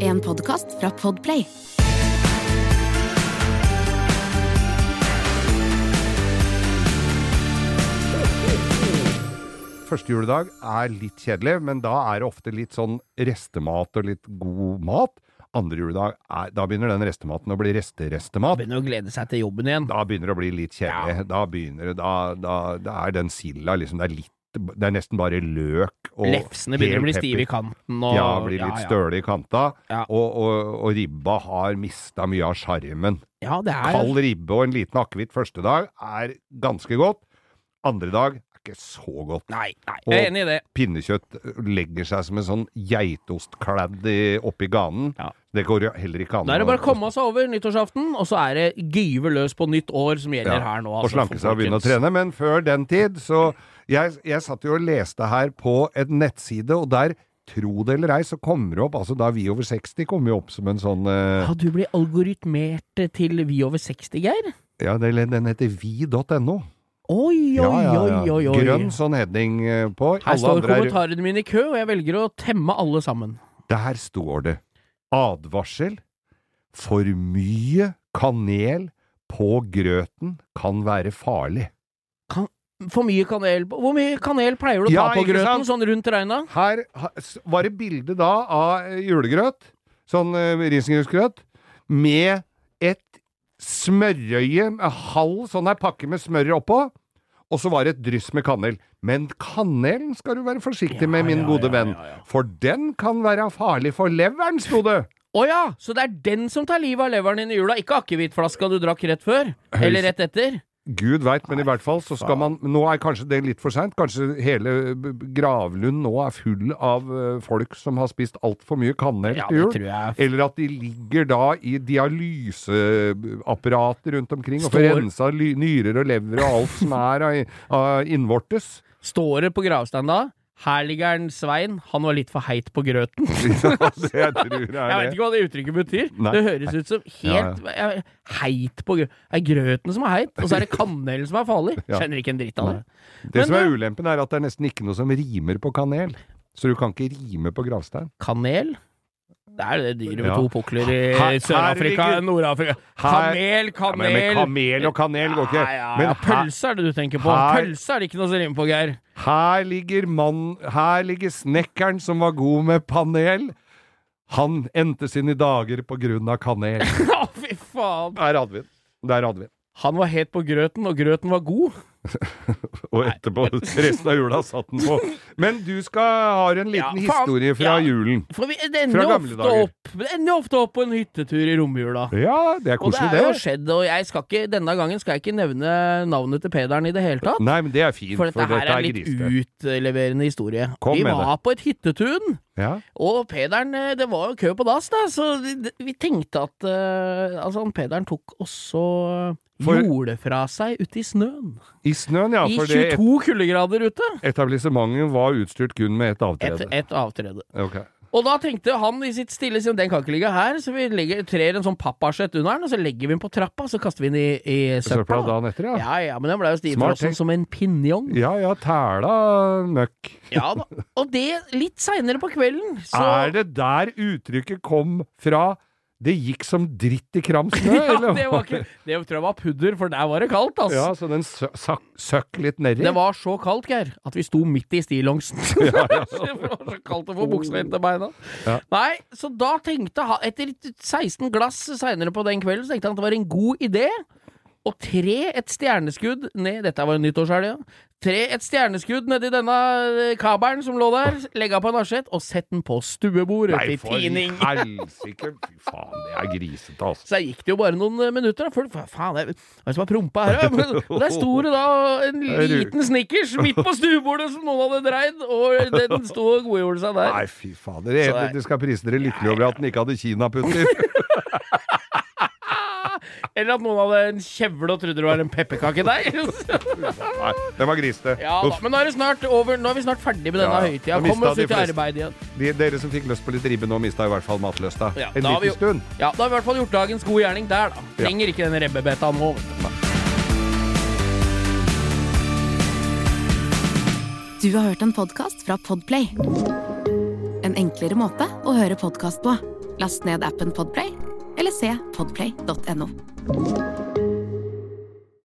en podkast fra Podplay. Første juledag er litt kjedelig, men da er det ofte litt sånn restemat og litt god mat. Andre juledag, er, da begynner den restematen å bli reste-restemat. Begynner å glede seg til jobben igjen. Da begynner det å bli litt kjedelig. Da begynner det, da, da, da er den silda liksom, det er litt det er nesten bare løk og Lefsene begynner å bli hel pepper. stive i kanten. Og, ja, blir litt ja. støle i kanta. Ja. Og, og, og ribba har mista mye av sjarmen. Ja, det er Kald ribbe og en liten akevitt første dag er ganske godt. Andre dag er ikke så godt. Nei, nei, jeg er Og- enig i det. Pinnekjøtt legger seg som en sånn geitostkladd i- oppi ganen. Ja. Det går jo heller ikke an Da er det bare å komme seg over nyttårsaften, og så er det gyve løs på nytt år som gjelder Ja, her nå. og slanke for seg og begynne å Altså, folkens. trene. Men før den tid, så jeg, jeg satt jo og leste her på en nettside, og der, tro det eller ei, så kommer det opp Altså, da er vi over 60, kommer jo opp som en sånn eh, Ja, du blir algoritmert til vi over 60, Geir. Ja, den den heter vi.no. Oi, oi, Ja, ja, ja. oi, oi, oi. Grønn sånn heading eh, på. Her står andre er- kommentarene mine i kø, og jeg velger å temme alle sammen. Der står det advarsel. For mye kanel på grøten kan være farlig. For mye kanel på- Hvor mye kanel pleier du å Ja, ta på ikke grøten, sant? sånn rundt regna? Her ha- s- var det bilde da av eh, julegrøt, sånn eh, risengrynsgrøt, med et smørøye, med halv sånn her pakke med smør oppå, og så var det et dryss med kanel. Men kanelen skal du være forsiktig Ja, med, min ja, gode ja, venn, ja, ja. for den kan være farlig for leveren, sto det. Å ja, så det er den som tar livet av leveren din i jula, ikke akevittflaska du drakk rett før? Høyst- Eller rett etter? Gud veit, men i hvert fall så skal man Nå er kanskje det litt for seint. Kanskje hele b- b- Gravlund nå er full av eh, folk som har spist altfor mye kanel Ja, til det jul. tror jeg. Eller at de ligger da i dialyseapparater rundt omkring og får Står- rensa ly- nyrer og lever og alt som er av, av innvortes. Står det på gravsteinen da? Her ligger en Svein, han var litt for heit på grøten. Ja, det jeg tror Jeg er veit det. ikke hva det uttrykket betyr. Nei. Det høres ut som helt jeg- heit på grøten. Er grøten som er heit, og så er det kanelen som er farlig? Ja. Skjønner ikke en dritt av det. Det Men som er du- ulempen, er at det er nesten ikke noe som rimer på kanel. Så du kan ikke rime på gravstein. Kanel? Det er det dyret med Ja. to pukler Her- her i Sør-Afrika, ligger- Nord-Afrika. Ja, Kanel, men, kanel! men kamel og kanel går ikke. Ja, ja, Men ja, her, pølse er det du tenker på. her- Pølse er det ikke noe som rimer på, Geir. her ligger mann Her ligger snekkeren som var god med panel. Han endte sine dager på grunn av kanel. Å, fy faen! Der hadde vi den. Der hadde vi den. Han var het på grøten, og grøten var god. Og etterpå, resten av jula satt den på. Men du skal ha en Ja, liten faen. historie fra Ja. julen. For vi, det, Fra ender jo gamle ofte dager. opp, det ender jo ofte opp på en hyttetur i romjula. Ja, det er Og det koselig, er jo det. skjedd, og jeg skal ikke, denne gangen skal jeg ikke nevne navnet til Pederen i det hele tatt. Nei, men det er fint, For dette her er en litt grisete. utleverende historie. Kom Vi med var på et hyttetun, Ja. og Pederen eh, Det var jo kø på dass, da, så det- det- vi tenkte at eh, Altså, han Pederen tok også For- Gjorde fra seg ute i snøen. I snøen, ja. I For det 22 kuldegrader ute. etablissementet var utstyrt kun med ett Et, avtrede. et avtrede. Ok. Og da tenkte han i sitt stille sinn den kan ikke ligge her, så vi legger, trer en sånn pappasjett under den, og så legger vi den på trappa, så kaster vi den i, i søpla. Søpla dagen etter, ja. Ja, ja, men den ble jo Smart stivfrossen tenkt. sånn som en pinjong. Ja ja, tæla møkk. Ja da. Og det litt seinere på kvelden, så Er det der uttrykket kom fra? Det gikk som dritt i kram snø, ja, eller det, var ikke, det tror jeg var pudder, for der var det kaldt, ass. Ja, så den sø- sak- søkk litt nedi. Det var så kaldt, Geir, at vi sto midt i stillongsen. Ja, ja. Så det var så kaldt å få buksa inn til beina. Ja. Nei, så da tenkte han Etter 16 glass seinere på den kvelden, så tenkte han at det var en god idé å tre et stjerneskudd ned Dette var jo nyttårshelga. Tre et stjerneskudd nedi denne eh, kabelen som lå der, legge på en asjett og sett den på stuebordet Nei, til for tining. helsike! Fy faen, det er grisete, altså. Så der gikk det jo bare noen eh, minutter, da. Folk, hva faen, det er hva er det som har prompa her, da? Men- Og der sto det da en liten snickers midt på stuebordet som noen hadde dreid, og den sto og godgjorde seg der. Nei, fy fader. Jeg, Så det- dere skal prise dere lykkelig over at den ikke hadde kinaputter. Eller at noen hadde en kjevle og trodde det var en pepperkake der. Nei, den var grisete. Ja da, Uff. men nå er det snart over. Nå er vi snart ferdig med denne Ja, ja. høytida. Da mistet Kom oss de ut i fleste. arbeid igjen. De, dere som fikk lyst på litt ribbe nå, mista i hvert fall matløsta. Ja, en da har liten vi jo- stund. Ja, da har vi i hvert fall gjort dagens gode gjerning der, da. Ja. Trenger ikke den rebbebeta nå. vet du. Du har hørt en podkast fra Podplay. En enklere måte å høre podkast på. Last ned appen Podplay, eller se podplay.no.